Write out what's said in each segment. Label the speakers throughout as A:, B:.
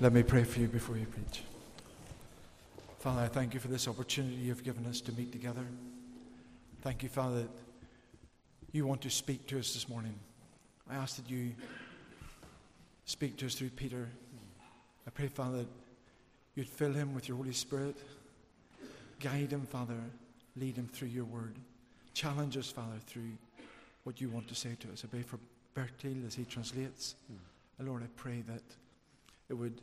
A: Let me pray for you before you preach. Father, I thank you for this opportunity you've given us to meet together. Thank you, Father, that you want to speak to us this morning. I ask that you speak to us through Peter. I pray, Father, that you'd fill him with your Holy Spirit. Guide him, Father. Lead him through your word. Challenge us, Father, through what you want to say to us. I pray for Bertil as he translates.
B: Mm.
A: And Lord, I pray that it would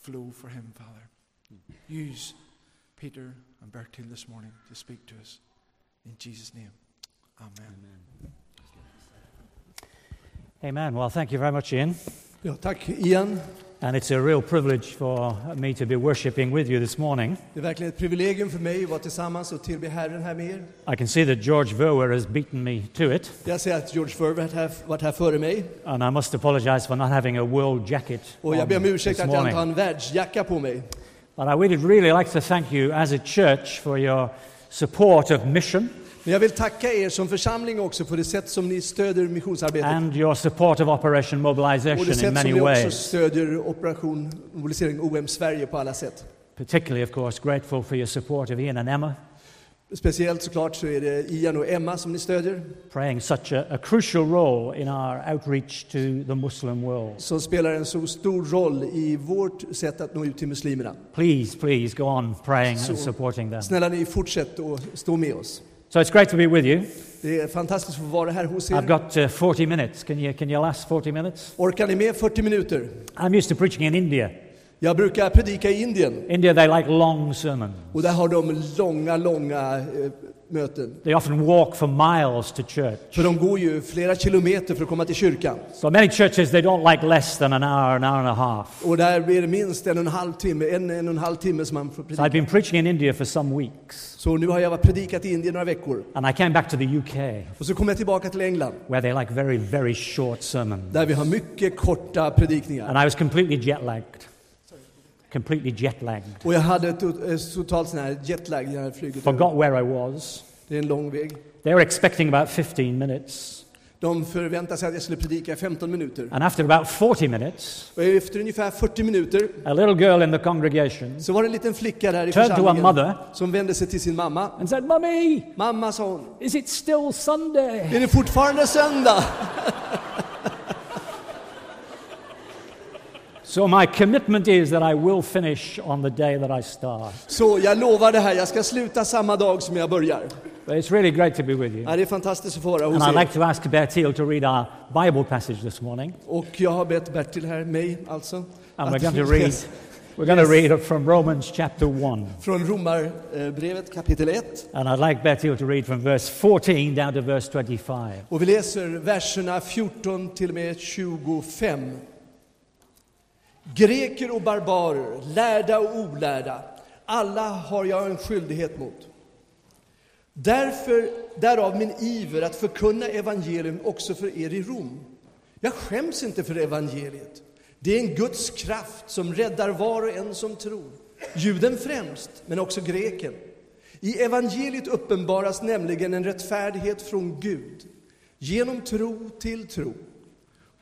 A: flow for him, Father. Use Peter and Bertil this morning to speak to us. In Jesus' name, amen.
C: Amen. Well, thank you very much, Ian.
B: Ja, tack Ian.
C: And it's a real privilege for me to be worshiping with you this morning.
B: Det är verkligen ett privilegium för mig att vara tillsammans och tillbe Herren här med er.
C: I can see that George Verwer has beaten me to it,
B: Jag ser att George Furr varit här, varit här före mig
C: and I must apologize for not having a world jacket
B: och jag
C: on
B: ber om ursäkt
C: this
B: att jag inte har
C: morning.
B: en världsjacka på mig.
C: But I would really like to thank you as a church for your support of mission
B: Men jag vill tacka er som församling också för det sätt som ni stöder missionsarbetet
C: and your support of Operation
B: och det
C: Mobilization in
B: sätt som
C: many
B: ni också
C: ways.
B: stöder operation mobilisering OM Sverige på alla sätt.
C: Particularly, of course, grateful for your support of Ian and Emma,
B: Speciellt såklart så är det Ian och Emma som ni stödjer
C: playing such a, a crucial role in our outreach to the Muslim world.
B: som spelar en så stor roll i vårt sätt att nå ut till muslimerna.
C: Please, please go on praying and
B: So-
C: supporting them.
B: Snälla ni, fortsätt att stå med oss.
C: So it's great to be with you.
B: Det är fantastiskt att få vara här hos
C: I've
B: er.
C: got uh, 40 minutes. Can you, can you last 40 minutes?
B: Orkar ni med 40 minuter?
C: I'm used to preaching in India.
B: Jag brukar predika i Indien
C: India, they like long sermons.
B: och där har de långa, långa eh, möten.
C: They often walk for miles to church.
B: För de går ju flera kilometer för att komma till kyrkan.
C: So many churches, they don't like less than an hour, an hour and a half.
B: Och där blir det minst en och en halv timme, en, en och en halv timme som man får
C: So I've
B: predika.
C: been preaching in India for some weeks.
B: Så nu har jag varit predikat i Indien några veckor.
C: And I came back to the UK,
B: Och så kommer jag tillbaka till England
C: where they like very, very short sermons.
B: där vi har mycket korta predikningar.
C: And I was completely jet lagged. Completely jet lagged.
B: Och jag hade ett, ett totalt sån här jetlag när jag flugit. över.
C: Forgot where I was.
B: Det är en lång väg.
C: They were expecting about 15 minutes.
B: De förväntade sig att jag skulle predika i 15 minuter.
C: And after about 40 minutes,
B: Och efter ungefär 40 minuter
C: a little girl in the congregation
B: så var det en liten flicka där i
C: turned to her
B: församlingen
C: mother
B: som vände sig till sin mamma.
C: and said, Mummy,
B: Mamma, sa hon,
C: is it still Sunday?
B: är det fortfarande söndag?
C: So my commitment is that I will finish on the day that I start.
B: Så jag lovar det här, jag ska sluta samma dag som jag börjar.
C: But it's really great to be with you.
B: Ja, det är fantastiskt att få vara
C: And
B: hos
C: I'd
B: er.
C: like to ask Bertil to read our Bible passage this morning.
B: Och jag har bett Bertil här, mig alltså,
C: And we're
B: att
C: going to read,
B: läsa
C: we're going to
B: Ah, Yes.
C: read it from Romans chapter 1.
B: från Romarbrevet kapitel 1.
C: And I'd like Bertil to read from verse 14 down to verse 25.
B: Och vi läser verserna 14 till och med 25. Greker och barbarer, lärda och olärda, alla har jag en skyldighet mot. Därför, därav min iver att förkunna evangelium också för er i Rom. Jag skäms inte för evangeliet. Det är en Guds kraft som räddar var och en som tror. Juden främst, men också greken. I evangeliet uppenbaras nämligen en rättfärdighet från Gud, genom tro till tro.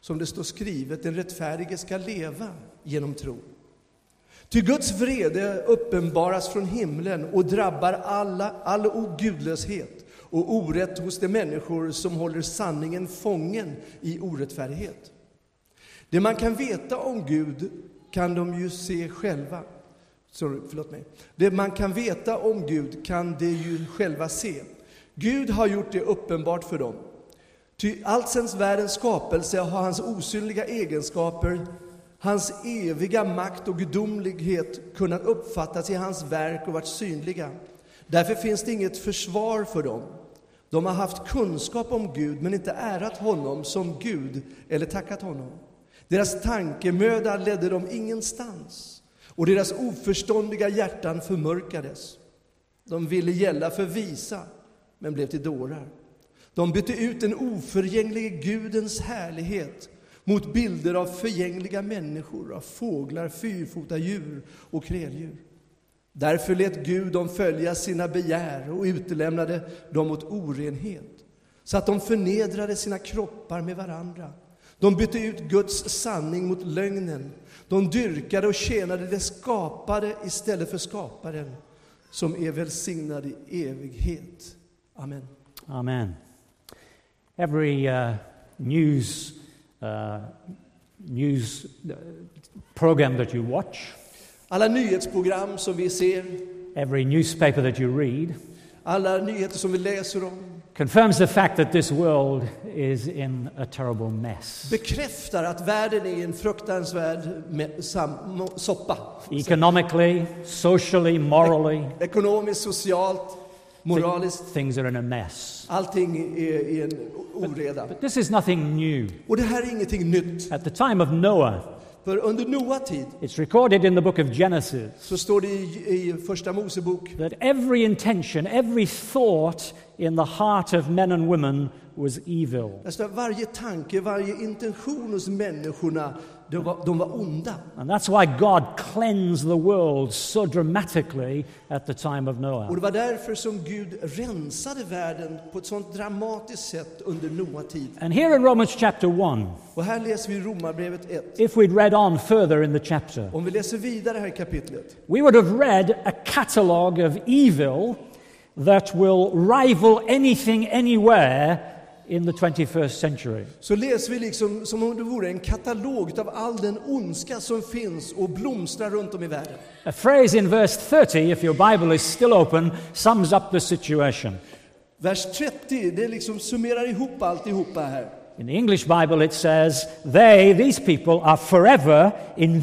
B: Som det står skrivet, den rättfärdige ska leva genom tro. Ty Guds vrede uppenbaras från himlen och drabbar alla, all ogudlöshet och orätt hos de människor som håller sanningen fången i orättfärdighet. Det man kan veta om Gud kan de ju se själva. Sorry, förlåt mig. Det man kan veta om Gud kan de ju själva se. Gud har gjort det uppenbart för dem. Ty allsens världens skapelse har hans osynliga egenskaper, hans eviga makt och gudomlighet kunnat uppfattas i hans verk och varit synliga. Därför finns det inget försvar för dem. De har haft kunskap om Gud men inte ärat honom som Gud eller tackat honom. Deras tankemöda ledde dem ingenstans och deras oförståndiga hjärtan förmörkades. De ville gälla för visa, men blev till dårar. De bytte ut den oförgänglige Gudens härlighet mot bilder av förgängliga människor, av fåglar, fyrfota djur och kräldjur. Därför lät Gud dem följa sina begär och utelämnade dem åt orenhet, så att de förnedrade sina kroppar med varandra, De bytte ut Guds sanning mot lögnen. De dyrkade och tjänade det skapade istället för skaparen som är välsignad i evighet. Amen.
C: Amen. Every uh, news uh, news uh, program that you watch,
B: Alla nyhetsprogram som vi ser,
C: every newspaper that you read,
B: alla nyheter som vi läser om
C: confirms the fact that this world is in a terrible mess.
B: bekräftar att världen är en fruktansvärd me- sam- soppa.
C: Economically, socially, morally,
B: Ekonomiskt, socialt, moraliskt.
C: things are in a mess.
B: Allting är i en oreda.
C: But this is nothing new.
B: Och det här är ingenting nytt.
C: At the time of Noah,
B: För under Noa tid
C: it's recorded in the book of Genesis
B: så står det i, i Första Mosebok
C: that every intention, every thought in the heart of men and women was evil.
B: där står att varje tanke, varje intention hos människorna, de var, de var onda.
C: And that's why God cleansed the world so dramatically at the time of
B: Och
C: Noah.
B: det var därför som Gud rensade världen på ett sådant dramatiskt sätt under Noa tid.
C: And here in Romans chapter 1,
B: Och här läser vi Romarbrevet 1.
C: if we'd read on further in the chapter,
B: Om vi läser vidare här i kapitlet
C: we would have read a catalogue of evil that will rival anything anywhere in the 21st century.
B: så läser vi liksom som om det vore en katalog av all den ondska som finns och blomstrar runt om i världen.
C: A phrase in verse 30, if your Bible is still open, sums up the situation.
B: Vers 30, det liksom summerar ihop alltihopa här.
C: In the English Bible, it says, They, these people, are forever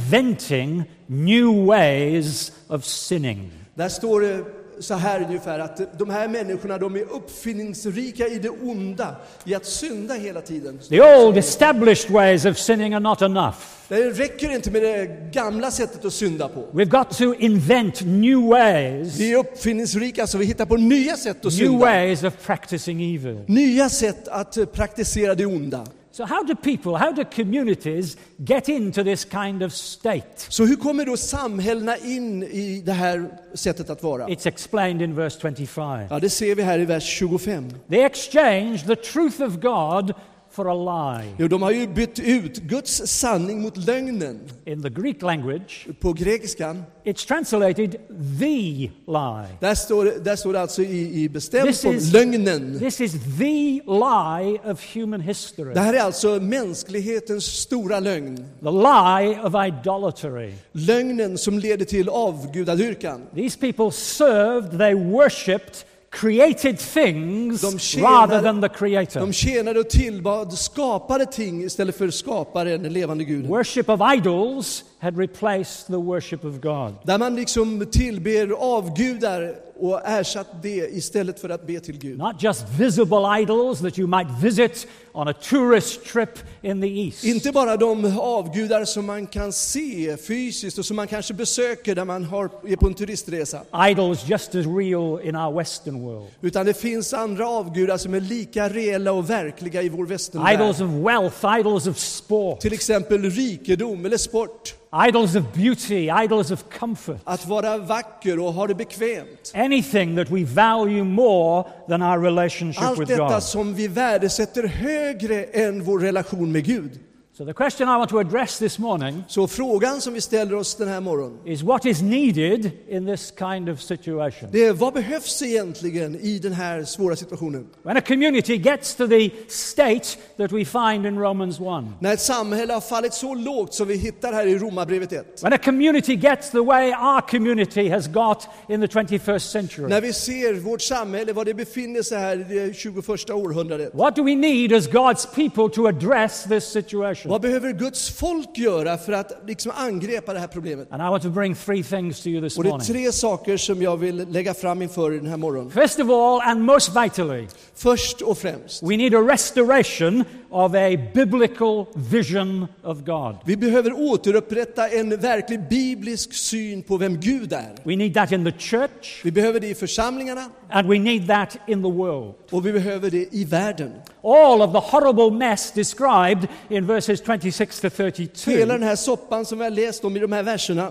C: inventing new ways of sinning.
B: Där står det så här ungefär att de här människorna de är uppfinningsrika i det onda, i att synda hela tiden.
C: The old established ways of sinning are not enough.
B: Det räcker inte med det gamla sättet att synda på.
C: We've got to invent new ways,
B: Vi är uppfinningsrika så vi hittar på nya sätt att
C: new
B: synda.
C: ways of practicing evil.
B: Nya sätt att eh, praktisera det onda.
C: So, how do people, how do communities get into this kind of state?
B: Så hur kommer då samhällena in i det här sättet att vara?
C: It's explained in verse 25.
B: Ja, det ser vi här i vers 25.
C: They exchanged the truth of God for a lie.
B: Jo, de har ju bytt ut Guds sanning mot lögnen.
C: In the Greek language,
B: På grekiskan,
C: it's translated the lie.
B: där står, det- där står det alltså i, i bestämd
C: This
B: form,
C: is-
B: lögnen.
C: This is the lie of human history,
B: Det här är alltså mänsklighetens stora lögn.
C: the lie of idolatry.
B: Lögnen som leder till avgudadyrkan.
C: These people served, they worshipped created
B: De
C: things
B: tjänade-
C: rather than the Creator.
B: De tjänade och tillbad skapade ting istället för skaparen, den levande guden.
C: Worship of idols had replaced the worship of God.
B: Där man liksom tillber avgudar och ersatt det istället för att be till Gud.
C: Not just visible idols that you might visit on a tourist trip in the East.
B: Inte bara de avgudar som man kan se fysiskt och som man kanske besöker där man har, är på en turistresa.
C: idols just as real in our Western world.
B: Utan det finns andra avgudar som är lika reella och verkliga i vår
C: Idols
B: västervärld.
C: of wealth, idols of sport,
B: Till exempel rikedom eller sport.
C: idols of beauty, idols of comfort.
B: Att vara vacker och ha det bekvämt.
C: Anything that we value more than our relationship
B: Allt
C: with
B: detta
C: God.
B: som vi värdesätter högre än vår relation med Gud.
C: So, the question I want to address this morning
B: Så frågan som vi ställer oss den här morgonen,
C: is what is needed in this kind of situation?
B: det är vad behövs egentligen i den här svåra situationen?
C: When a community gets to the state that we find in Romans 1,
B: När ett samhälle har fallit så lågt som vi hittar här i Romarbrevet 1.
C: when a community gets the way our community has got in the 21st century,
B: När vi ser vårt samhälle, var det befinner sig här i det 21 århundradet.
C: What do we need as God's people to address this situation?
B: Vad behöver Guds folk göra för att liksom angrepa det här problemet?
C: And I want to bring three things to you this
B: Och det är
C: morning.
B: tre saker som jag vill lägga fram inför er den här morgonen.
C: First of all, and most vitally,
B: Först och främst,
C: we need a restoration of a biblical vision of God.
B: vi behöver återupprätta en verklig biblisk syn på vem Gud är.
C: We need that in the church,
B: Vi behöver det i församlingarna
C: and we need that in the world.
B: och vi behöver det i världen.
C: All of the horrible mess described in verses 26 to
B: Hela
C: 32
B: den här soppan som vi har läst om i de här verserna,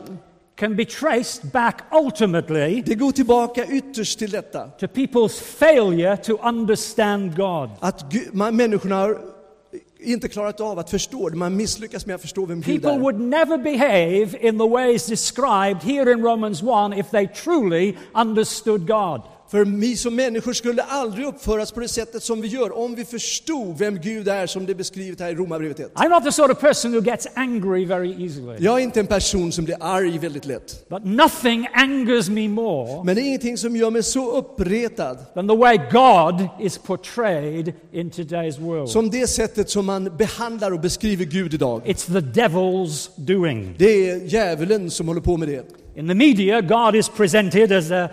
C: can be traced back ultimately
B: det går tillbaka ytterst till detta.
C: to people's failure to understand God.
B: Att Gud, man, människorna har inte klarat av att förstå det. Man misslyckas med att förstå vem Gud
C: People
B: är.
C: would never behave in the ways described here in Romans 1 if they truly understood God.
B: För vi som människor skulle aldrig uppföras på det sättet som vi gör om vi förstod vem Gud är som det är beskrivet här i Romarbrevet 1.
C: I'm not the sort of person who gets angry very easily,
B: Jag är inte en person som blir arg väldigt lätt.
C: but nothing angers me more
B: Men det är ingenting som gör mig så uppretad
C: than the way God is portrayed in today's world.
B: som det sättet som man behandlar och beskriver Gud idag.
C: It's the devil's doing.
B: Det är djävulen som håller på med det.
C: In the media, God is presented as an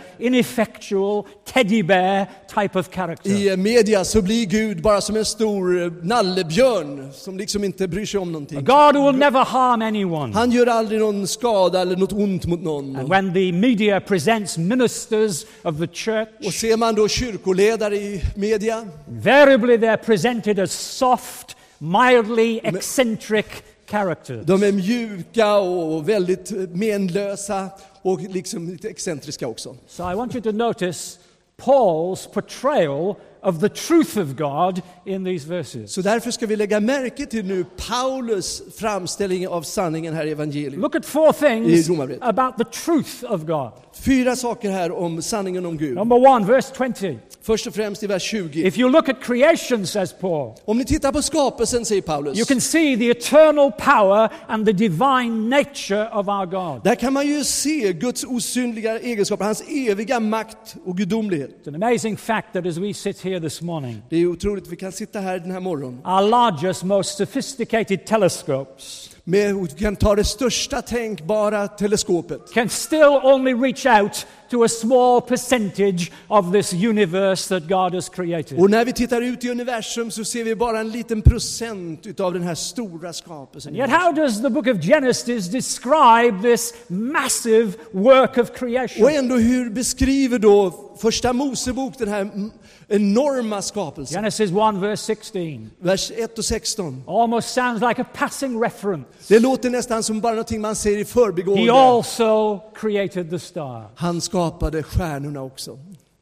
C: ineffectual teddy bear type of character.
B: I media så blir Gud bara som en stor eh, nallebjörn som liksom inte bryr sig om
C: A
B: någonting.
C: God who will never harm anyone.
B: Han gör aldrig någon skada eller något ont mot någon.
C: And when the media presents ministers of the
B: Och
C: church,
B: ser man då kyrkoledare i media
C: invariably they're presented as soft, mildly eccentric characters.
B: De är mjuka och väldigt menlösa och liksom lite excentriska också.
C: So I want you to notice Paul's portrayal of the truth of God in these verses.
B: Så därför ska vi lägga märke till nu Paulus framställning av sanningen här i evangeliet.
C: Look at four things
B: I Romarbrevet.
C: about the truth of God.
B: Fyra saker här om sanningen om Gud.
C: Number one, verse 20.
B: Först och främst i vers 20.
C: If you look at creation, says Paul,
B: Om ni tittar på skapelsen, säger Paulus,
C: you can see the eternal power and the divine nature of our God.
B: där kan man ju se Guds osynliga egenskaper, hans eviga makt och gudomlighet.
C: It's an amazing fact that as we sit here this morning,
B: Det är otroligt, vi kan sitta här den här morgonen
C: our largest, most sophisticated telescopes
B: med, och vi kan ta det största tänkbara teleskopet.
C: can still only reach out to a small percentage of this universe that God has created.
B: Och när vi tittar ut i universum så ser vi bara en liten procent utav den här stora skapelsen.
C: Yet, how does the book of Genesis describe this massive work of
B: Och
C: creation?
B: ändå hur beskriver då första Mosebok den här m- enorma skapelsen?
C: Genesis 1, verse 16
B: Vers 1 och 16.
C: almost sounds like a passing reference.
B: Det låter nästan som bara någonting man säger i
C: He
B: förbigående.
C: also created the star.
B: Han skapade stjärnorna också.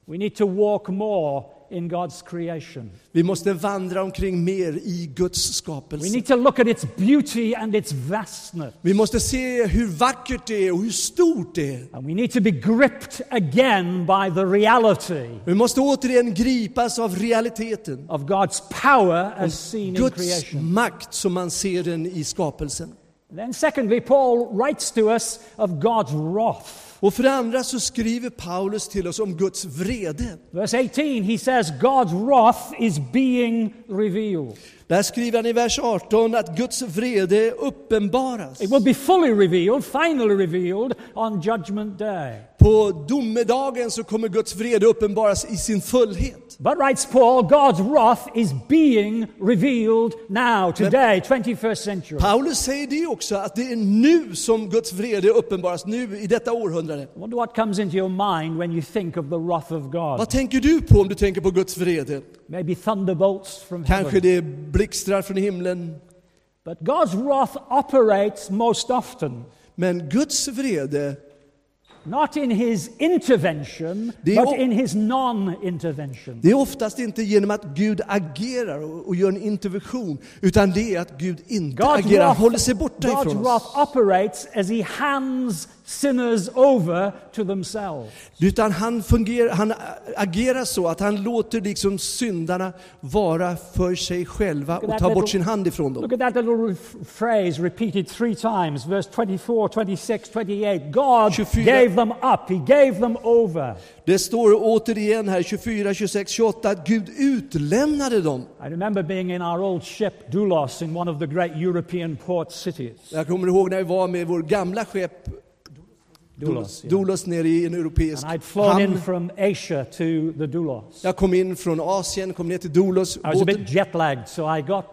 C: We need to walk more in God's creation.
B: Vi måste vandra omkring mer i Guds
C: We
B: skapelse.
C: need to look at its beauty and its vastness.
B: Vi måste se hur vackert det är och hur stort det är.
C: And we need to be gripped again by the reality
B: Vi måste återigen gripas av realiteten.
C: of God's power as seen in
B: Guds
C: creation.
B: makt som man ser den i skapelsen.
C: Then, secondly, Paul writes to us of God's wrath.
B: Och för det andra så skriver Paulus till oss om Guds vrede.
C: Verse 18, he says, God's wrath is being revealed.
B: Där skriver han i vers 18 att Guds vrede uppenbaras
C: It will be fully revealed, finally revealed on Judgment Day.
B: På domedagen så kommer Guds vrede uppenbaras i sin fullhet.
C: But writes Paul, God's wrath is being revealed now, today, 21st century. I
B: Paulus säger det också, att det är nu som Guds vrede uppenbaras, nu i detta århundrade.
C: wonder what comes into your mind when you think of the wrath of God.
B: Vad tänker du på om du tänker på Guds vrede?
C: Maybe thunderbolts from
B: Kanske
C: heaven.
B: det blixtrar från himlen.
C: But God's wrath operates most often,
B: Men Guds vrede,
C: not in his intervention,
B: Det är
C: but
B: o-
C: in his non intervention.
B: det är oftast inte genom att Gud agerar och och gör en intervention, utan det är att Gud inte
C: God's
B: agerar,
C: wrath,
B: han håller sig borta
C: God's
B: ifrån oss.
C: wrath operates as he hands sinners over to themselves.
B: Utan han, fungerar, han agerar så att han låter liksom syndarna vara för sig själva och ta bort sin hand ifrån dem.
C: Look at that little re- phrase repeated three times, verse 24, 26, 28. God
B: 24.
C: gave them up, He gave them over.
B: Det står återigen här 24, 26, 28 att Gud utlämnade dem.
C: I remember being in our old ship, Doulos, in one of the great European port cities.
B: Jag kommer ihåg när vi var med vår gamla skepp
C: Doulos. yeah.
B: Dolos nere i en europeisk
C: And I'd flown in
B: hamn.
C: from Asia to the Doulos.
B: Jag kom in från Asien, kom ner till Dolos
C: I was a
B: båten,
C: bit jet lagged, so I got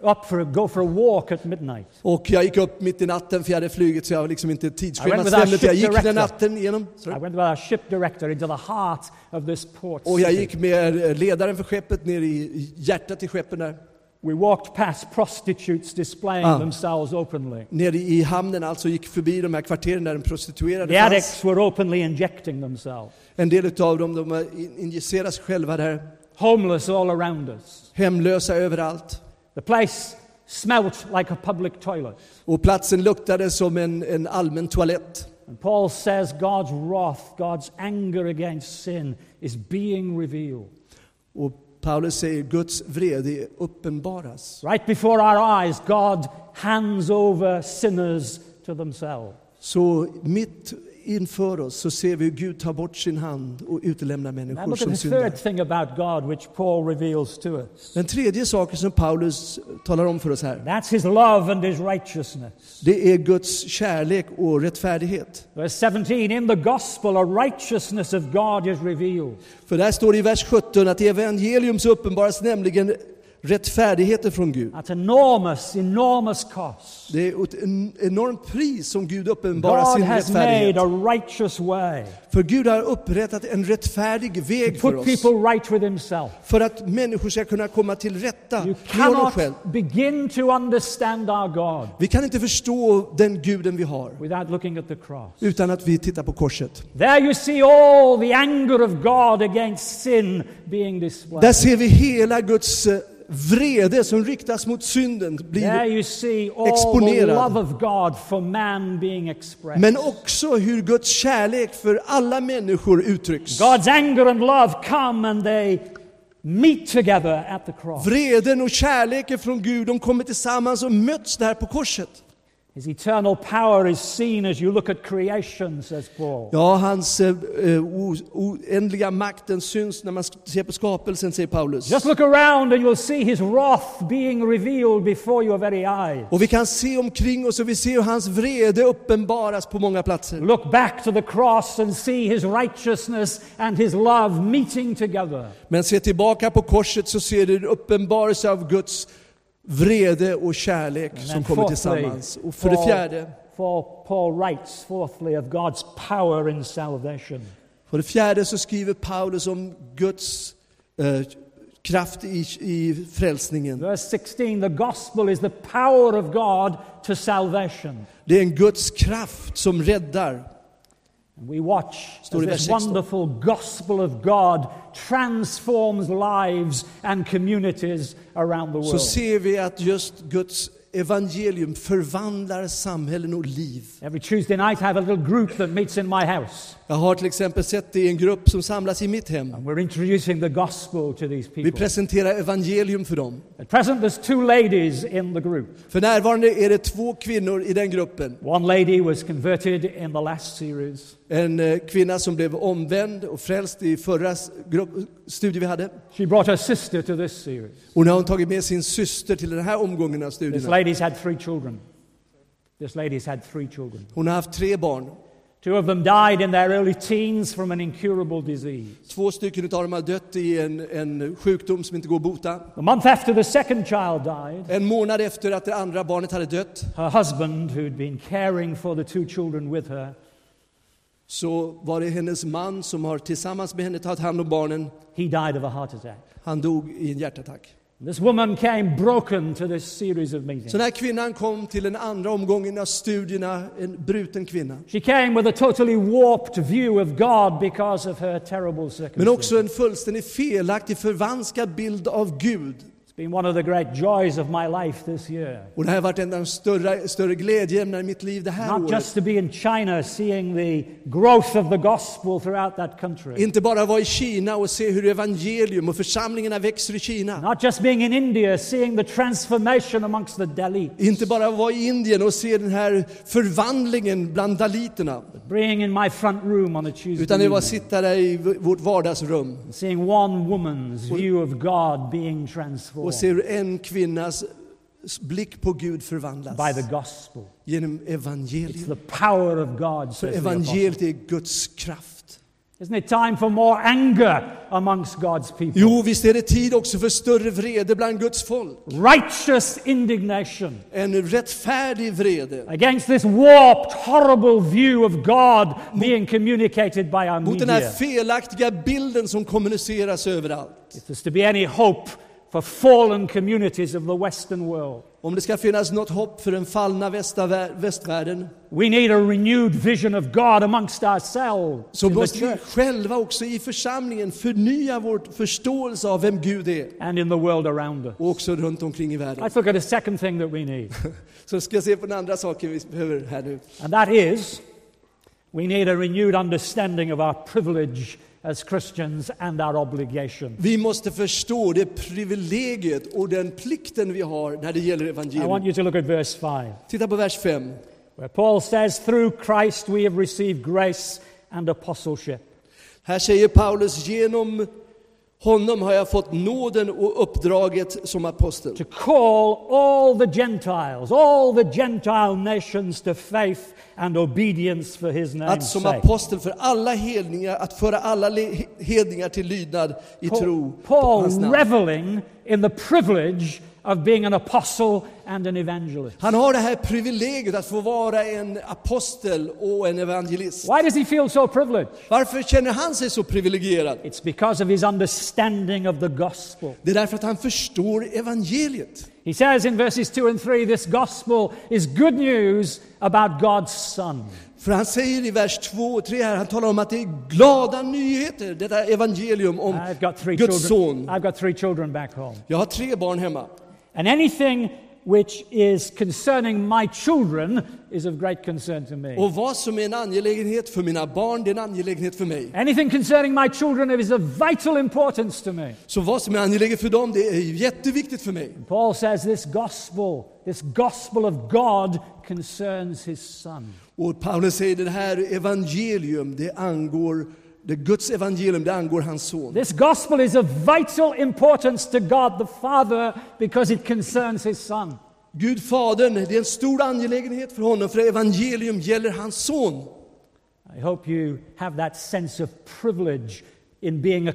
C: up for a, go for a walk at midnight.
B: och jag gick upp mitt i natten för jag hade flugit så jag var liksom inte
C: I
B: tidsschemat
C: went with our
B: stämde. för Jag gick
C: ship
B: den
C: director.
B: natten igenom. Sorry.
C: I went with our ship director into the heart of this port
B: Och jag
C: city.
B: gick med ledaren för skeppet ner i i hjärtat i skeppen där.
C: We walked past prostitutes displaying
B: Ah.
C: themselves openly.
B: Nere i hamnen alltså, gick förbi de här kvarteren där de
C: The
B: prostituerade fanns.
C: addicts were openly injecting themselves.
B: En del av dem, de injiceras själva där.
C: Homeless all around us.
B: Hemlösa överallt.
C: The place smelt like a public toilet.
B: Och platsen luktade som en, en allmän toalett.
C: And Paul says God's wrath, God's anger against sin is being revealed.
B: Och Paulus säger Guds vrede uppenbaras.
C: Right before our eyes, God hands over sinners to themselves.
B: Så mitt inför oss så ser vi hur Gud tar bort sin hand och utelämnar
C: Now
B: människor
C: look at
B: som
C: the
B: syndare.
C: third thing about God which Paul reveals to us.
B: Den tredje saken som Paulus talar om för oss här,
C: That's his love and his righteousness.
B: det är Guds kärlek och rättfärdighet.
C: Verse 17 In the gospel, a righteousness of God is revealed.
B: För där står det i vers 17 att i evangelium så uppenbaras nämligen rättfärdigheten från Gud.
C: At enormous, enormous cost.
B: Det är ett en- enormt pris som Gud uppenbarar
C: God
B: sin
C: has made
B: rättfärdighet.
C: a righteous way
B: För Gud har upprättat en rättfärdig
C: to
B: väg för
C: put
B: oss.
C: people right with himself.
B: För att människor ska kunna komma till rätta
C: You
B: med honom själv.
C: cannot begin to understand our God
B: Vi kan inte förstå den guden vi har
C: without looking at the cross.
B: utan att vi tittar på korset.
C: There you see all the anger of God against sin being displayed.
B: Där ser vi hela Guds eh, vrede som riktas mot synden.
C: there
B: Blir,
C: you see all
B: exponerad.
C: the love of God for man being expressed.
B: men också hur Guds kärlek för alla människor uttrycks.
C: God's anger and love come and they meet together at the cross.
B: Vreden och kärleken från Gud, de kommer tillsammans och möts där på korset.
C: His eternal power is seen as you look at creation, says Paul.
B: Ja, hans eh, eh, o- oändliga makt, den syns när man ser på skapelsen, säger Paulus.
C: Just look around and you'll see his wrath being revealed before your very eyes.
B: Och vi kan se omkring oss och vi ser hur hans vrede uppenbaras på många platser.
C: Look back to the cross and see his righteousness and his love meeting together.
B: Men se tillbaka på korset så ser du en uppenbarelse av Guds vrede och kärlek
C: And
B: som
C: then
B: kommer
C: fourthly,
B: tillsammans. Och för det
C: Paul-
B: fjärde,
C: Paul, Paul writes, fourthly, of God's power in salvation.
B: för det fjärde så skriver Paulus om Guds eh, kraft i, i frälsningen.
C: Verse 16 The gospel is the power of God to salvation.
B: Det är en Guds kraft som räddar.
C: And we watch
B: Står i
C: as this
B: vers 16.
C: wonderful gospel of God transforms lives and communities around the
B: Så
C: world.
B: ser vi att just Guds evangelium förvandlar samhällen och liv.
C: Every Tuesday night, I have a little group that meets in my house,
B: Jag har till exempel sett det i en grupp som samlas i mitt hem.
C: and we're introducing the gospel to these
B: Vi
C: people.
B: presenterar evangelium för dem.
C: At present, there's two ladies in the group.
B: För närvarande är det två kvinnor i den gruppen.
C: One lady was converted in the last series.
B: En eh, kvinna som blev omvänd och frälst i förra s- grupp, studie vi hade.
C: She brought her sister to this series.
B: Och nu har hon tagit med sin syster till den här omgången av
C: This
B: studierna.
C: lady's had three children. This lady's had three children.
B: Hon har haft tre barn.
C: Two of them died in their early teens from an incurable disease.
B: Två stycken utav dem har dött i en, en sjukdom som inte går att bota.
C: A month after the second child died,
B: En månad efter att det andra barnet hade dött
C: her husband, who'd been caring for the two children with her,
B: så var det hennes man som har tillsammans med henne tagit hand om barnen.
C: he died of a heart attack.
B: Han dog i en hjärtattack.
C: This woman came broken to this series of
B: Så
C: meetings.
B: den här kvinnan kom till den andra omgången av studierna, en bruten kvinna.
C: She came with a totally warped view of God because of her terrible
B: Men
C: circumstances.
B: också en fullständigt felaktig, förvanskad bild av Gud.
C: It's been one of the great joys of my life this year.
B: Och det här har varit en av de större, större glädjeämnena i mitt liv det här
C: Not
B: året.
C: just to be in China seeing the growth of the gospel throughout that country.
B: Inte bara vara i Kina och se hur evangelium och församlingarna växer i Kina.
C: Not just being in India seeing the transformation amongst the Dalit.
B: Inte bara vara i Indien och se den här förvandlingen bland daliterna.
C: Being in my front room on a Tuesday
B: Utan det var att
C: evening.
B: sitta där i v- vårt vardagsrum
C: and Seeing one woman's view of God being transformed
B: och se hur en kvinnas blick på Gud förvandlas
C: by the gospel.
B: genom
C: It's
B: evangelium.
C: the power of God,
B: För
C: says the apostle.
B: evangeliet är Guds kraft.
C: Isn't it time for more anger amongst God's people?
B: Jo, visst är det tid också för större vrede bland Guds folk.
C: Righteous indignation
B: En rättfärdig vrede.
C: against this warped, horrible view of God being communicated by our
B: Mot den här
C: media.
B: felaktiga bilden som kommuniceras överallt.
C: If there's to be any hope for fallen communities of the Western world.
B: Om det ska finnas något hopp för den fallna västa- västvärlden
C: We need a renewed vision of God amongst ourselves.
B: så
C: in the
B: måste vi
C: church
B: själva också i församlingen förnya vår förståelse av vem Gud är
C: and in the world around us.
B: och också runt omkring i världen.
C: Let's look at a second thing that we need,
B: Så ska jag se på den andra saken vi behöver här nu.
C: and that is we need a renewed understanding of our privilege as Christians and our obligation.
B: Vi måste förstå det privilegiet och den plikten vi har när det gäller
C: I want
B: evangeliet.
C: you to look at verse 5,
B: Titta på vers 5.
C: where Paul says, Through Christ we have received grace and apostleship.
B: Här säger Paulus, genom honom har jag fått nåden och uppdraget som apostel.
C: to call all the Gentiles, all the Gentile nations to faith and obedience for his
B: Att
C: name's
B: som
C: sake.
B: apostel för alla hedningar, att föra alla le- hedningar till lydnad i tro
C: Paul,
B: på
C: Paul
B: hans namn.
C: reveling in the privilege of being an apostle and an evangelist.
B: Han har det här privilegiet att få vara en apostel och en evangelist.
C: Why does he feel so privileged?
B: Varför känner han sig så privilegierad?
C: It's because of his understanding of the gospel.
B: Det är därför att han förstår evangeliet.
C: He says in verses 2 and 3 this gospel is good news about God's Son.
B: För han säger i vers 2 och 3 här, han talar om att det är glada nyheter, detta evangelium om
C: I've got three
B: Guds
C: children.
B: son.
C: I've got three children back home.
B: Jag har tre barn hemma.
C: And anything which is concerning my children is of great concern to me.
B: Och vad som är en angelägenhet för mina barn, det är en angelägenhet för mig.
C: Anything concerning my children is of vital importance to me.
B: Så vad som är angeläget för dem, det är jätteviktigt för mig.
C: Paul says this gospel, this gospel of God concerns his son.
B: Och Paulus säger det här evangelium, det angår, det Guds evangelium, det angår hans son.
C: This gospel is of vital importance to God the Father because it concerns his son.
B: Gud Fadern, det är en stor angelägenhet för honom, för evangelium gäller hans son.
C: I hope you have that sense of privilege in being a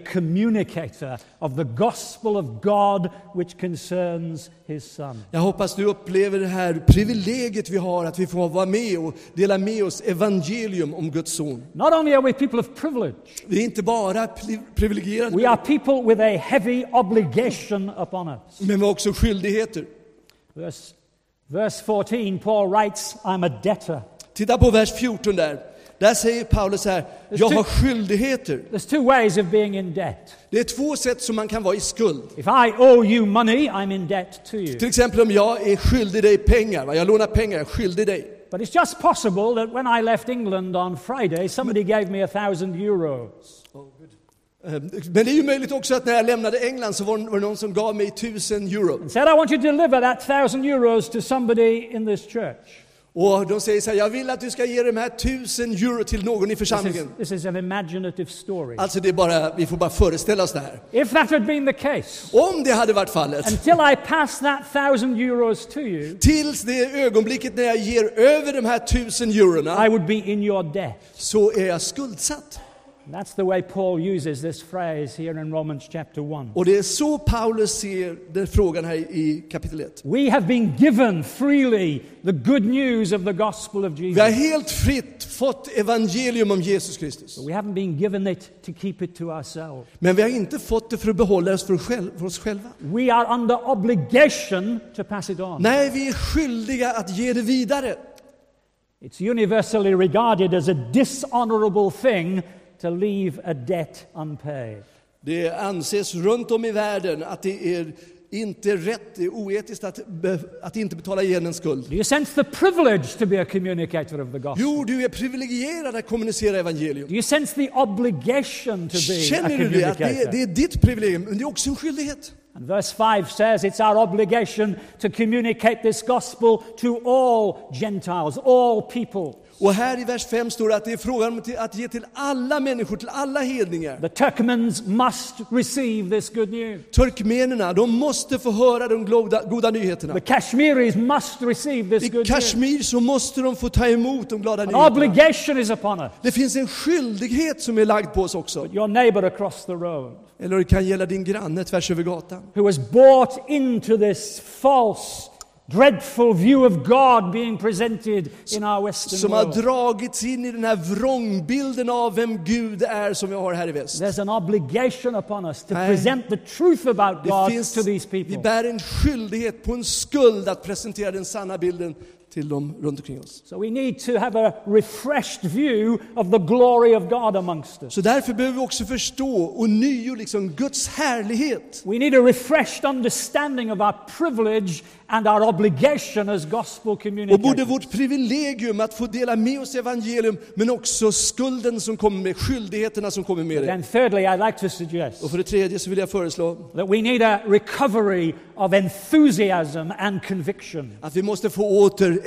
C: communicator of the gospel of God which concerns his son.
B: Jag hoppas du upplever det här privilegiet vi har, att vi får vara med och dela med oss evangelium om Guds son.
C: Not only are we people of privilege,
B: Vi är inte bara pri- privilegierade,
C: we are people with a heavy obligation upon us.
B: men vi har också skyldigheter.
C: Verse, verse 14, Paul writes, I'm a debtor.
B: Titta på vers 14 där. Där säger Paulus här, jag har skyldigheter.
C: There's two ways of being in debt.
B: Det är två sätt som man kan vara i skuld.
C: If I owe you money, I'm in debt to you.
B: Till exempel om jag är skyldig dig pengar, va? jag lånar pengar, jag är skyldig dig.
C: But it's just possible that when I left England on Friday, somebody gave me a thousand euros.
B: Eh, Men det är ju möjligt också att när jag lämnade England så var det var det någon som gav mig 1000 euro.
C: And said, I want you to deliver that thousand euros to somebody in this church.
B: Och de säger så här, jag vill att du ska ge de här 1000 euro till någon i
C: This is,
B: församlingen.
C: this is an imaginative story.
B: Alltså det är bara, vi får bara föreställa oss det här.
C: If that had been the case,
B: Om det hade varit fallet,
C: until I passed that thousand euros to you,
B: tills det ögonblicket när jag ger över de här 1000 eurona,
C: I would be in your debt.
B: så är jag skuldsatt.
C: And that's the way Paul uses this phrase here in Romans chapter 1.
B: Och det är så Paulus ser den frågan här i kapitel 1.
C: We have been given freely the good news of the gospel of
B: Vi har
C: Jesus.
B: helt fritt fått evangelium om Jesus Kristus.
C: We haven't been given it to keep it to ourselves.
B: Men vi har inte fått det för att behålla oss för, själv, för oss själva.
C: We are under obligation to pass it on.
B: Nej, vi är skyldiga att ge det vidare.
C: It's universally regarded as a dishonorable thing to leave a debt unpaid.
B: Det anses runt om i världen att det är inte rätt, det är oetiskt att, be- att inte betala igen en skuld.
C: Do you sense the privilege to be a communicator of the gospel?
B: Jo, du är privilegierad att kommunicera evangelium.
C: Do you sense the obligation to be a
B: Känner du det? Att det, är, det
C: communicator?
B: är ditt privilegium, men det är också en skyldighet.
C: And verse 5 says it's our obligation to communicate this gospel to all Gentiles, all people.
B: Och här i vers 5 står det att det är frågan om till- att ge till alla människor, till alla hedningar.
C: The Turkmens must receive this good news.
B: Turkmenerna, de måste få höra de goda, goda nyheterna.
C: The Kashmiris must receive this
B: I
C: good news.
B: Kashmir så måste de få ta emot de glada
C: An
B: nyheterna.
C: obligation is upon us.
B: Det finns en skyldighet som är lagd på oss också.
C: Your neighbor across the road
B: Eller det kan gälla din granne tvärs över gatan.
C: who was bought into this false dreadful view of God being presented in our Western
B: som har
C: world.
B: dragits in i den här vrångbilden av vem Gud är som vi har här i väst.
C: There's an obligation upon us to
B: Nej.
C: present the truth about
B: Det
C: God
B: finns,
C: to these
B: vi
C: people.
B: bär en skyldighet på en skuld att presentera den sanna bilden till dem runt omkring oss.
C: So we need to have a refreshed view of the glory of God amongst us.
B: Så därför behöver vi också förstå och nio liksom Guds härlighet.
C: We need a refreshed understanding of our privilege and our obligation as gospel
B: Och både
C: communicators.
B: vårt privilegium att få dela med oss evangelium men också skulden som kommer med, skyldigheterna som kommer med det.
C: Then, thirdly, I'd like to suggest
B: Och för det tredje så vill jag föreslå
C: that we need a recovery of enthusiasm and conviction.
B: att vi måste få åter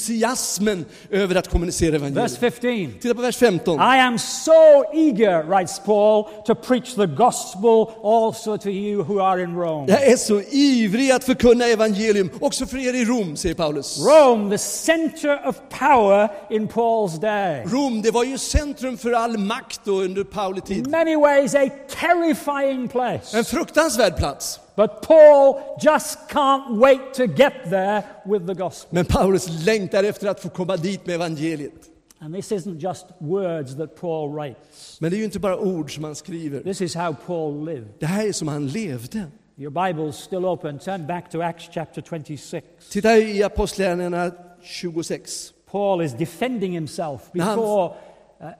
B: entusiasmen över att kommunicera
C: Verse
B: evangelium.
C: 15.
B: Titta på vers 15.
C: I am so eager, writes Paul, to preach the gospel also to you who are in Rome.
B: Jag är så ivrig att förkunna evangelium, också för er i Rom, säger Paulus.
C: Rome, the center of power in Paul's day.
B: Rom, det var ju centrum för all makt då under Pauli
C: In
B: tid.
C: many ways, a terrifying place.
B: En fruktansvärd plats.
C: But Paul just can't wait to get there with the gospel.
B: Men Paulus längtar efter att få komma dit med evangeliet.
C: And this isn't just words that Paul writes,
B: Men det är ju inte bara ord som han skriver.
C: this is how Paul lived.
B: Det här är som han levde.
C: Your Bible's still open. Turn back to Acts chapter 26.
B: Titta i Apostlagärningarna 26.
C: Paul is defending himself
B: Now I'm-
C: before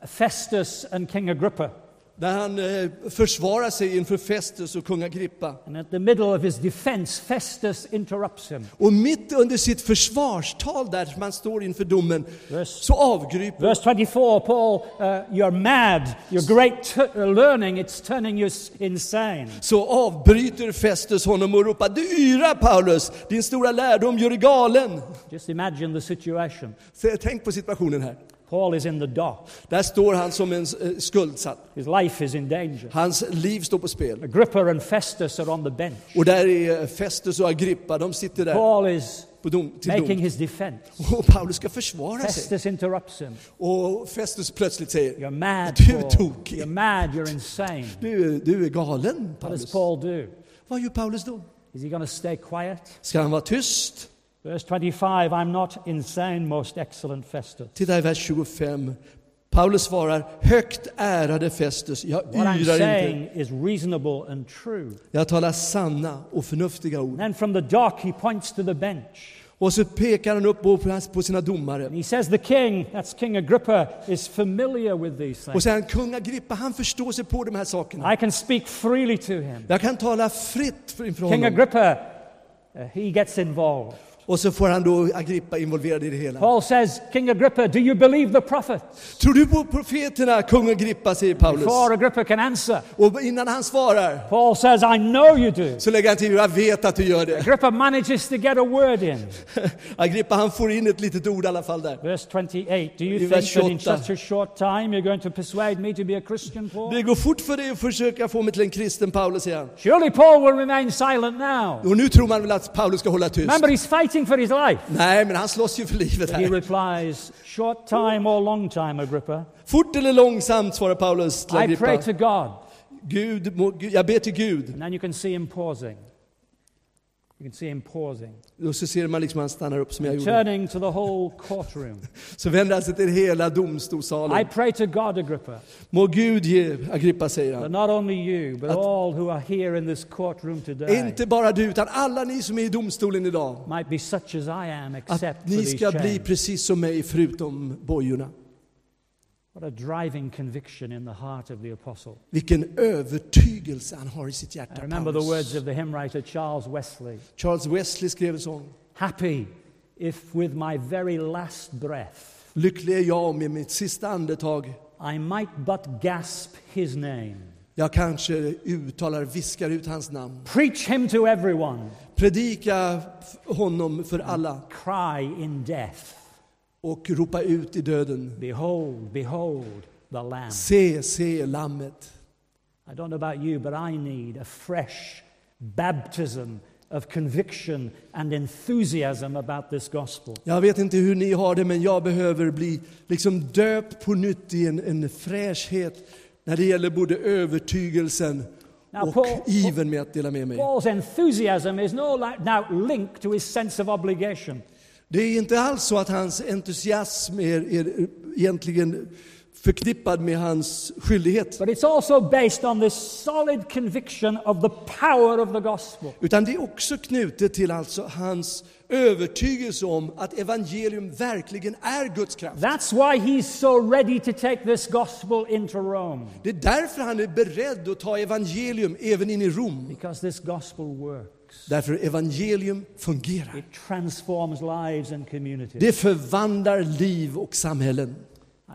C: uh, Festus and King Agrippa.
B: Där han eh, försvarar sig inför Festus och kung Agrippa.
C: And at the middle of his defense, Festus interrupts him.
B: Och mitt under sitt försvarstal där man står inför domen
C: Verse-
B: så avgryper
C: Verse 24, Paul, uh, you're mad. Your great t- uh, learning, it's turning you s- insane.
B: så avbryter Festus honom och ropar Du yra Paulus, din stora lärdom gör dig galen.
C: Just imagine the situation.
B: Så tänk på situationen här.
C: Paul is in the dock.
B: Där står han som en eh, skuldsatt.
C: His life is in danger.
B: Hans liv står på spel.
C: Agrippa and Festus are on the bench.
B: Och där är Festus och Agrippa, de sitter där
C: Paul is
B: på dom, till
C: making
B: dom.
C: his defense.
B: Och Paulus ska försvara sig.
C: Festus interrupts him.
B: Och Festus plötsligt säger
C: You're mad.
B: Du är
C: Paul.
B: tokig.
C: You're mad. You're insane.
B: du, du är galen
C: What does
B: Paulus.
C: Paul do?
B: Vad gör Paulus då?
C: Is he going to stay quiet?
B: Ska han vara tyst?
C: Verse 25 I'm not insane, most excellent Festus.
B: Titta i vers 25. Paulus svarar, högt ärade Festus, jag
C: What I'm
B: yrar inte.
C: saying is reasonable and true.
B: Jag talar sanna och förnuftiga ord.
C: And then from the dock, he points to the bench.
B: Och så pekar han upp på- på hans- på sina
C: And
B: domare.
C: he says, The king, that's King Agrippa, is familiar with these
B: Och
C: things.
B: sen kung Agrippa, han förstår sig på de här sakerna.
C: I can speak freely to him.
B: Jag kan tala fritt för- inför
C: King
B: honom.
C: Agrippa, uh, he gets involved.
B: Och så får han då Agrippa involverad i det hela.
C: Paul says, King Agrippa, do you believe the prophet?
B: Tror du på profeterna, kung Agrippa, säger Paulus.
C: Before Agrippa can answer,
B: Och innan han svarar
C: Paul says, I know you do.
B: så lägger han till, jag vet att du gör det.
C: Agrippa manages to get a word in.
B: Agrippa, han får in ett litet ord i alla fall där.
C: Verse 28 Do
B: I
C: you think
B: vers
C: that in
B: 28.
C: such a short time you're going to persuade me to be a Christian, Paul?
B: Det går fort för dig att försöka få mig till en kristen Paulus, säger han.
C: Surely Paul will remain silent now.
B: Och nu tror man väl att Paulus ska hålla tyst.
C: Remember, he's fighting for his life.
B: Nej, men han slåss ju för livet
C: He
B: här.
C: replies, Short time or long time, Agrippa,
B: Fort eller långsamt, svarar Paulus till
C: I pray to
B: Agrippa.
C: God.
B: Gud, må, Gud, jag ber till Gud.
C: And then you can see him pausing. You can see him pausing,
B: Och så ser man liksom han stannar upp som jag gjorde.
C: turning to the whole courtroom.
B: Så vänder han sig till hela
C: I
B: domstolssalen.
C: pray to God, Agrippa,
B: Må Gud ge, Agrippa, säger
C: that
B: han.
C: not only you, but
B: Att-
C: all who are here in this courtroom today
B: Inte bara du, utan alla ni som är i domstolen idag.
C: might be such as I am, except
B: Att
C: for
B: ni
C: these
B: ska bli
C: chains.
B: precis som mig, förutom bojorna.
C: What a driving conviction in the heart of the apostle.
B: Vilken övertygelse han har i sitt
C: I
B: hjärta,
C: remember the
B: Paulus.
C: words of the hymn writer Charles Wesley
B: Charles Wesley skrev en sång.
C: Happy if with my very last breath
B: Lycklig är jag med mitt sista andetag
C: I might but gasp his name,
B: jag kanske uttalar, viskar ut hans namn.
C: preach him to everyone,
B: Predika f- honom för alla
C: cry in death,
B: och ropa ut i döden.
C: Behold, behold the Lamb.
B: Se, se lammet.
C: I don't know about you, but I need a fresh baptism of conviction and enthusiasm about this gospel.
B: Jag vet inte hur ni har det, men jag behöver bli liksom döpt på nytt i en, en fräschhet när det gäller både övertygelsen
C: Now,
B: och
C: Paul-
B: ivern med att dela med mig.
C: Paul's enthusiasm is no li- now linked to his sense of obligation.
B: Det är inte alls så att hans entusiasm är, är egentligen förknippad med hans skyldighet.
C: But it's also based on this solid conviction of the power of the gospel.
B: Utan det är också knutet till alltså hans övertygelse om att evangelium verkligen är Guds kraft.
C: That's why he's so ready to take this gospel into Rome,
B: Det är därför han är beredd att ta evangelium även in i Rom.
C: because this gospel works.
B: Därför evangelium fungerar.
C: It transforms lives and communities.
B: Det förvandlar liv och samhällen.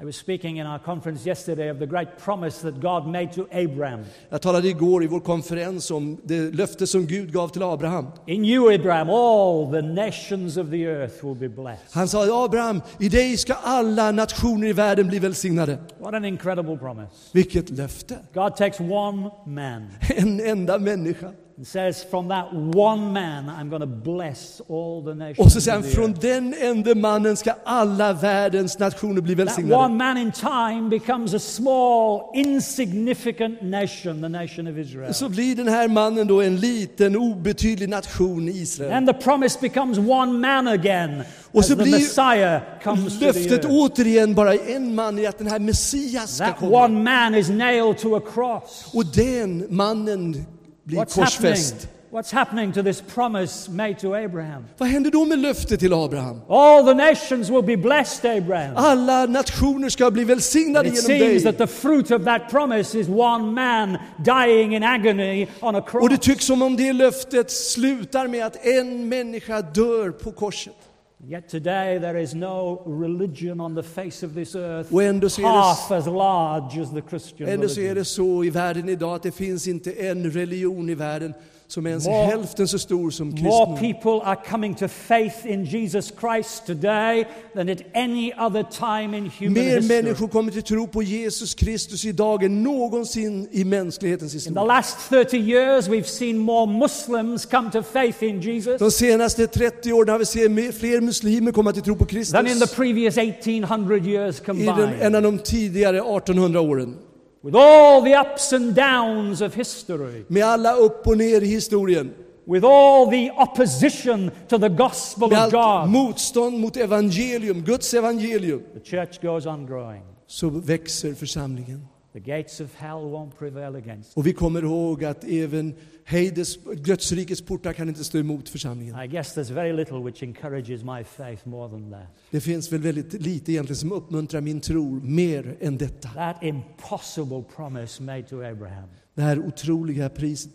C: I was speaking in our conference yesterday of the great promise that God made to Abraham.
B: Jag talade igår i vår konferens om det löfte som Gud gav till Abraham.
C: In you, Abraham, all the nations of the earth will be blessed.
B: Han sa Abraham, i dig ska alla nationer i världen bli välsignade.
C: What an incredible promise.
B: Vilket löfte!
C: God takes one man
B: En enda människa.
C: and says, From that one man, I'm going to bless all the nations.
B: Och så säger
C: of
B: han,
C: the
B: från
C: earth."
B: den enda mannen ska alla världens nationer bli
C: That
B: välsignade.
C: one man in time becomes a small, insignificant nation, the nation of Israel.
B: Så blir den här mannen då en liten obetydlig nation i Israel.
C: And the promise becomes one man again
B: Och
C: as
B: så
C: the
B: blir
C: Messiah comes to the
B: Löftet
C: earth.
B: återigen bara en man är att den här Messias ska
C: That
B: komma.
C: one man is nailed to a cross.
B: Och den mannen blir
C: What's happening?
B: korsfäst.
C: What's happening to this promise made to Abraham?
B: Vad händer då med löftet till Abraham?
C: All the nations will be blessed, Abraham.
B: Alla nationer ska bli välsignade
C: It
B: genom
C: seems that
B: dig.
C: the fruit of that promise is one man dying in agony on a
B: Och det
C: cross.
B: tycks som om det löftet slutar med att en människa dör på korset.
C: Yet today there is no religion on the face of this earth
B: Och ändå så är det-
C: half as large as the Christian
B: Eller så är
C: religion.
B: det så i världen idag att det finns inte en religion i världen som ens är
C: More-
B: hälften så stor som
C: More
B: kristen.
C: people are coming to faith in Jesus Christ today than at any other time in human
B: Mer
C: history.
B: människor kommer till tro på Jesus Kristus idag än någonsin i mänsklighetens
C: In the
B: historia.
C: last 30 years, we've seen more Muslims come to faith in
B: De
C: Jesus
B: senaste 30 åren har vi sett mer- fler muslimer komma till tro på
C: than in the
B: Kristus
C: previous 1800 years
B: i den,
C: combined.
B: än av de tidigare 1800 åren.
C: With all the ups and downs of history,
B: Med alla upp och ner i historien.
C: with all the opposition to the gospel
B: Med
C: of
B: allt
C: God,
B: motstånd mot evangelium, Guds evangelium,
C: the church goes on growing.
B: så växer församlingen.
C: The gates of hell won't prevail against. it.
B: Och vi kommer ihåg att även Heides, Guds rikets portar kan inte stå emot församlingen.
C: I guess there's very little which encourages my faith more than that.
B: Det finns väl väldigt lite egentligen som uppmuntrar min tro mer än detta.
C: That impossible promise made to Abraham
B: Det här otroliga priset,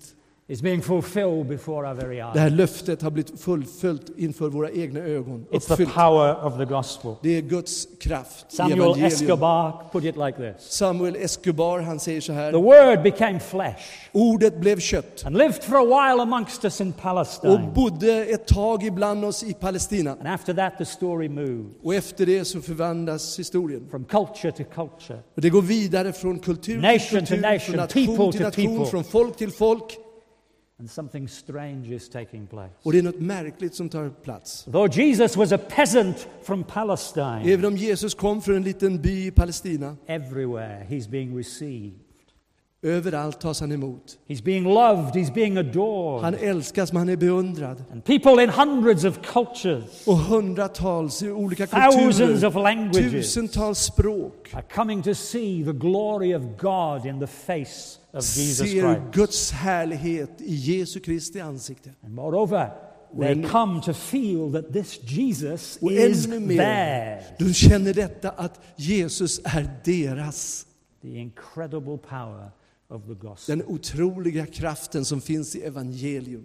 C: is being fulfilled before our very eyes.
B: det här löftet har blivit fullföljt inför våra egna ögon.
C: It's the
B: Uppfyllt.
C: power of the gospel.
B: Det är Guds kraft i
C: Samuel
B: evangelium.
C: Escobar put it like this
B: Samuel Escobar, han säger så
C: The
B: här.
C: Word became flesh
B: Ordet blev kött
C: and lived for a while amongst us in
B: och
C: Palestine.
B: bodde ett tag ibland oss i Palestina.
C: And after that, the story moved
B: Och efter det så förvandlas historien.
C: from culture to culture.
B: Och det går vidare från kultur
C: Nation
B: till kultur,
C: to nation,
B: från nation
C: people
B: till
C: to
B: nation,
C: people.
B: från folk till folk.
C: And something strange is taking place.
B: Och det är något märkligt som tar plats.
C: Though Jesus was a peasant from Palestine,
B: Även om Jesus kom från en liten by i Palestina,
C: everywhere he's being received.
B: överallt tas han emot.
C: He's being loved, he's being
B: Han
C: adored.
B: älskas, men han är beundrad.
C: And people in hundreds of cultures
B: Och hundratals i olika
C: Thousands of
B: kulturer,
C: languages.
B: tusentals språk
C: are coming to see the glory of God in the face of Jesus Christ.
B: ser Guds härlighet i Jesu Kristi ansikte.
C: And moreover, they
B: When-
C: come to feel that this Jesus
B: Och
C: is
B: ännu
C: there.
B: mer, de känner detta att Jesus är deras.
C: The incredible power of the gospel.
B: Den otroliga kraften som finns i evangelium.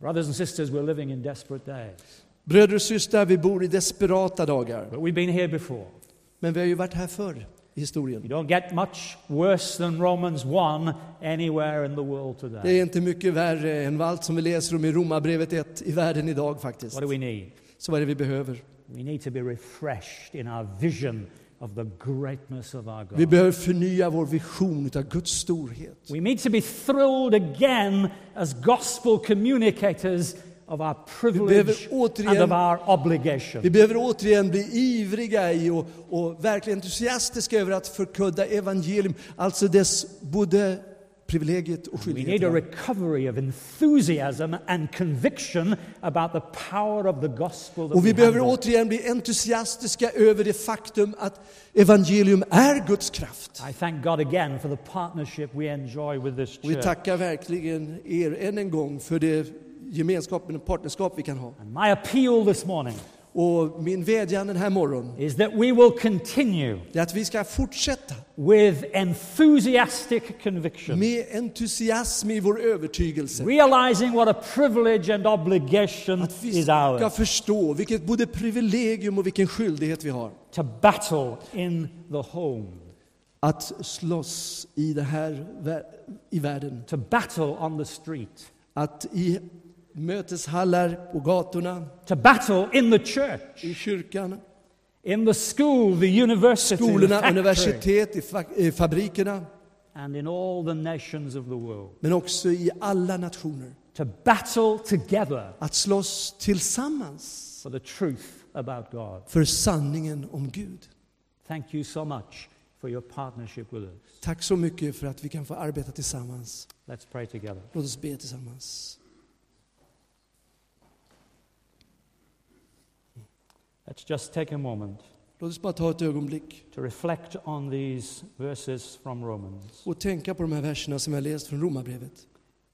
C: Brothers and sisters, we're living in desperate days.
B: Bröder och systrar, vi bor i desperata dagar.
C: But we've been here before.
B: Men vi har ju varit här förr i
C: You
B: historien.
C: don't get much worse than Romans 1 anywhere in the world today.
B: Det är inte mycket värre än allt som vi läser om i Romarbrevet 1 i världen idag faktiskt.
C: What do we need?
B: Så vad är det vi behöver?
C: We need to be refreshed in our vision of the greatness of our God.
B: Vi behöver förnya vår vision utav Guds storhet.
C: We need to be thrilled again as gospel communicators of our privilege
B: behöver återigen-
C: and of our
B: Vi
C: obligation.
B: behöver återigen bli ivriga i och, och verkligen entusiastiska över att förkunna evangelium, alltså dess både privilegiet och
C: We need a
B: skyldigheterna.
C: recovery of enthusiasm and conviction about the power of the gospel that
B: Och vi
C: we
B: behöver
C: handle.
B: återigen bli entusiastiska över det faktum att evangelium är Guds kraft.
C: I thank God again for the partnership we enjoy with this
B: Och vi
C: church.
B: tackar verkligen er än en gång för det gemenskapen och partnerskap vi kan ha.
C: And my appeal this morning
B: Och min vädjan den här morgonen
C: is that we will continue
B: är att vi ska fortsätta
C: with enthusiastic conviction,
B: med entusiasm i vår övertygelse.
C: realizing what a privilege and obligation
B: Att vi
C: is
B: ska
C: ours
B: förstå vilket både privilegium och vilken skyldighet vi har.
C: to battle in the home,
B: Att slåss i det här vä- i världen.
C: to battle on the street,
B: Att i möteshallar, på gatorna,
C: to battle in the church,
B: i kyrkan,
C: in the school, the university, the
B: skolorna,
C: factory,
B: universitet, i fa- i fabrikerna,
C: and in all the nations of the world,
B: men också i alla nationer.
C: to battle together
B: Att slåss tillsammans
C: for the truth about God.
B: för sanningen om Gud.
C: Thank you so much for your partnership with us.
B: Tack så mycket för att vi kan få arbeta tillsammans.
C: Let's pray together.
B: Låt oss be tillsammans.
C: Let's just take a moment
B: Låt oss bara ta ett ögonblick
C: to reflect on these verses from Romans
B: och tänka på de här verserna som jag läst från Romarbrevet.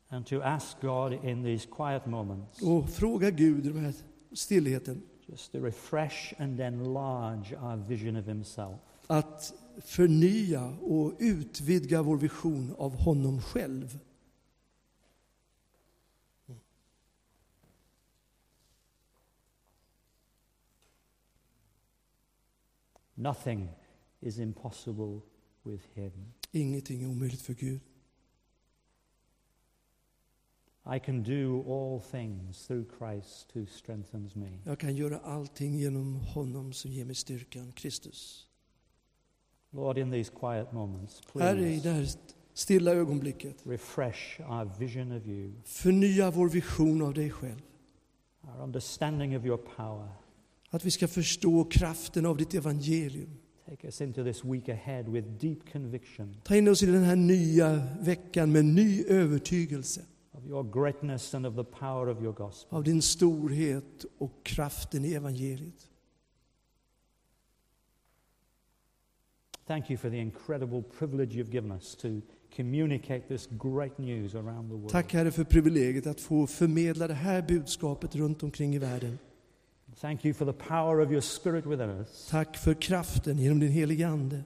C: and to ask God in these quiet moments
B: Och fråga Gud i den här stillheten
C: just to refresh and enlarge our vision of Himself.
B: att förnya och utvidga vår vision av honom själv.
C: Nothing is impossible with Him.
B: Ingenting är omöjligt för Gud.
C: I can do all things through Christ who strengthens me.
B: Jag kan göra allting genom honom som ger mig styrkan, Kristus.
C: Lord, in these quiet moments,
B: Herre, i
C: please
B: det här stilla ögonblicket,
C: refresh our vision of you,
B: förnya vår vision av dig själv.
C: our understanding of your power.
B: Att vi ska förstå kraften av ditt evangelium.
C: Take us into this week ahead with deep conviction
B: Ta in oss i den här nya veckan med ny övertygelse
C: of your greatness and of the power of your gospel.
B: av din storhet och kraften i evangeliet.
C: Thank you for the incredible privilege you've given us to communicate this great news around the world.
B: Tack Herre för privilegiet att få förmedla det här budskapet runt omkring i världen.
C: Thank you for the power of your Spirit within us.
B: Tack för kraften genom din helige Ande.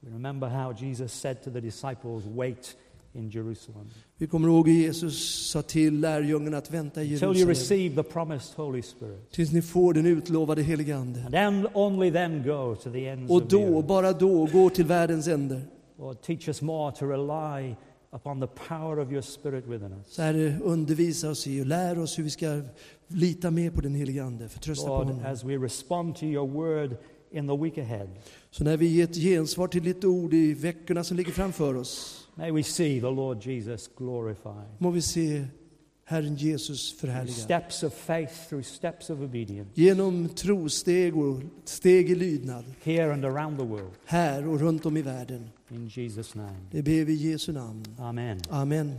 C: We remember how Jesus said to the disciples, Wait in Jerusalem
B: Vi kommer ihåg hur Jesus sa till lärjungarna att vänta i
C: until you
B: Jerusalem
C: receive the promised Holy Spirit.
B: tills ni får den utlovade helige Ande.
C: And then, only then go to the ends
B: Och
C: of the
B: då,
C: earth.
B: bara då, går till världens änder.
C: Lord, teach us more to rely upon the power of your Spirit within
B: Så
C: us.
B: Herre, undervisa oss i och lär oss hur vi ska lita mer på den helige Ande, förtrösta på
C: Lord,
B: honom.
C: as we respond to your word in the week ahead,
B: Så när vi ger ett gensvar till ditt ord i veckorna som ligger framför oss,
C: may we see the Lord Jesus glorified.
B: må vi se Herren Jesus
C: Through
B: förhärligad.
C: steps of faith, through steps of obedience,
B: Genom trosteg och steg i lydnad,
C: here and around the world.
B: här och runt om i världen.
C: In Jesus' name.
B: Det ber vi i Jesu namn.
C: Amen.
B: Amen.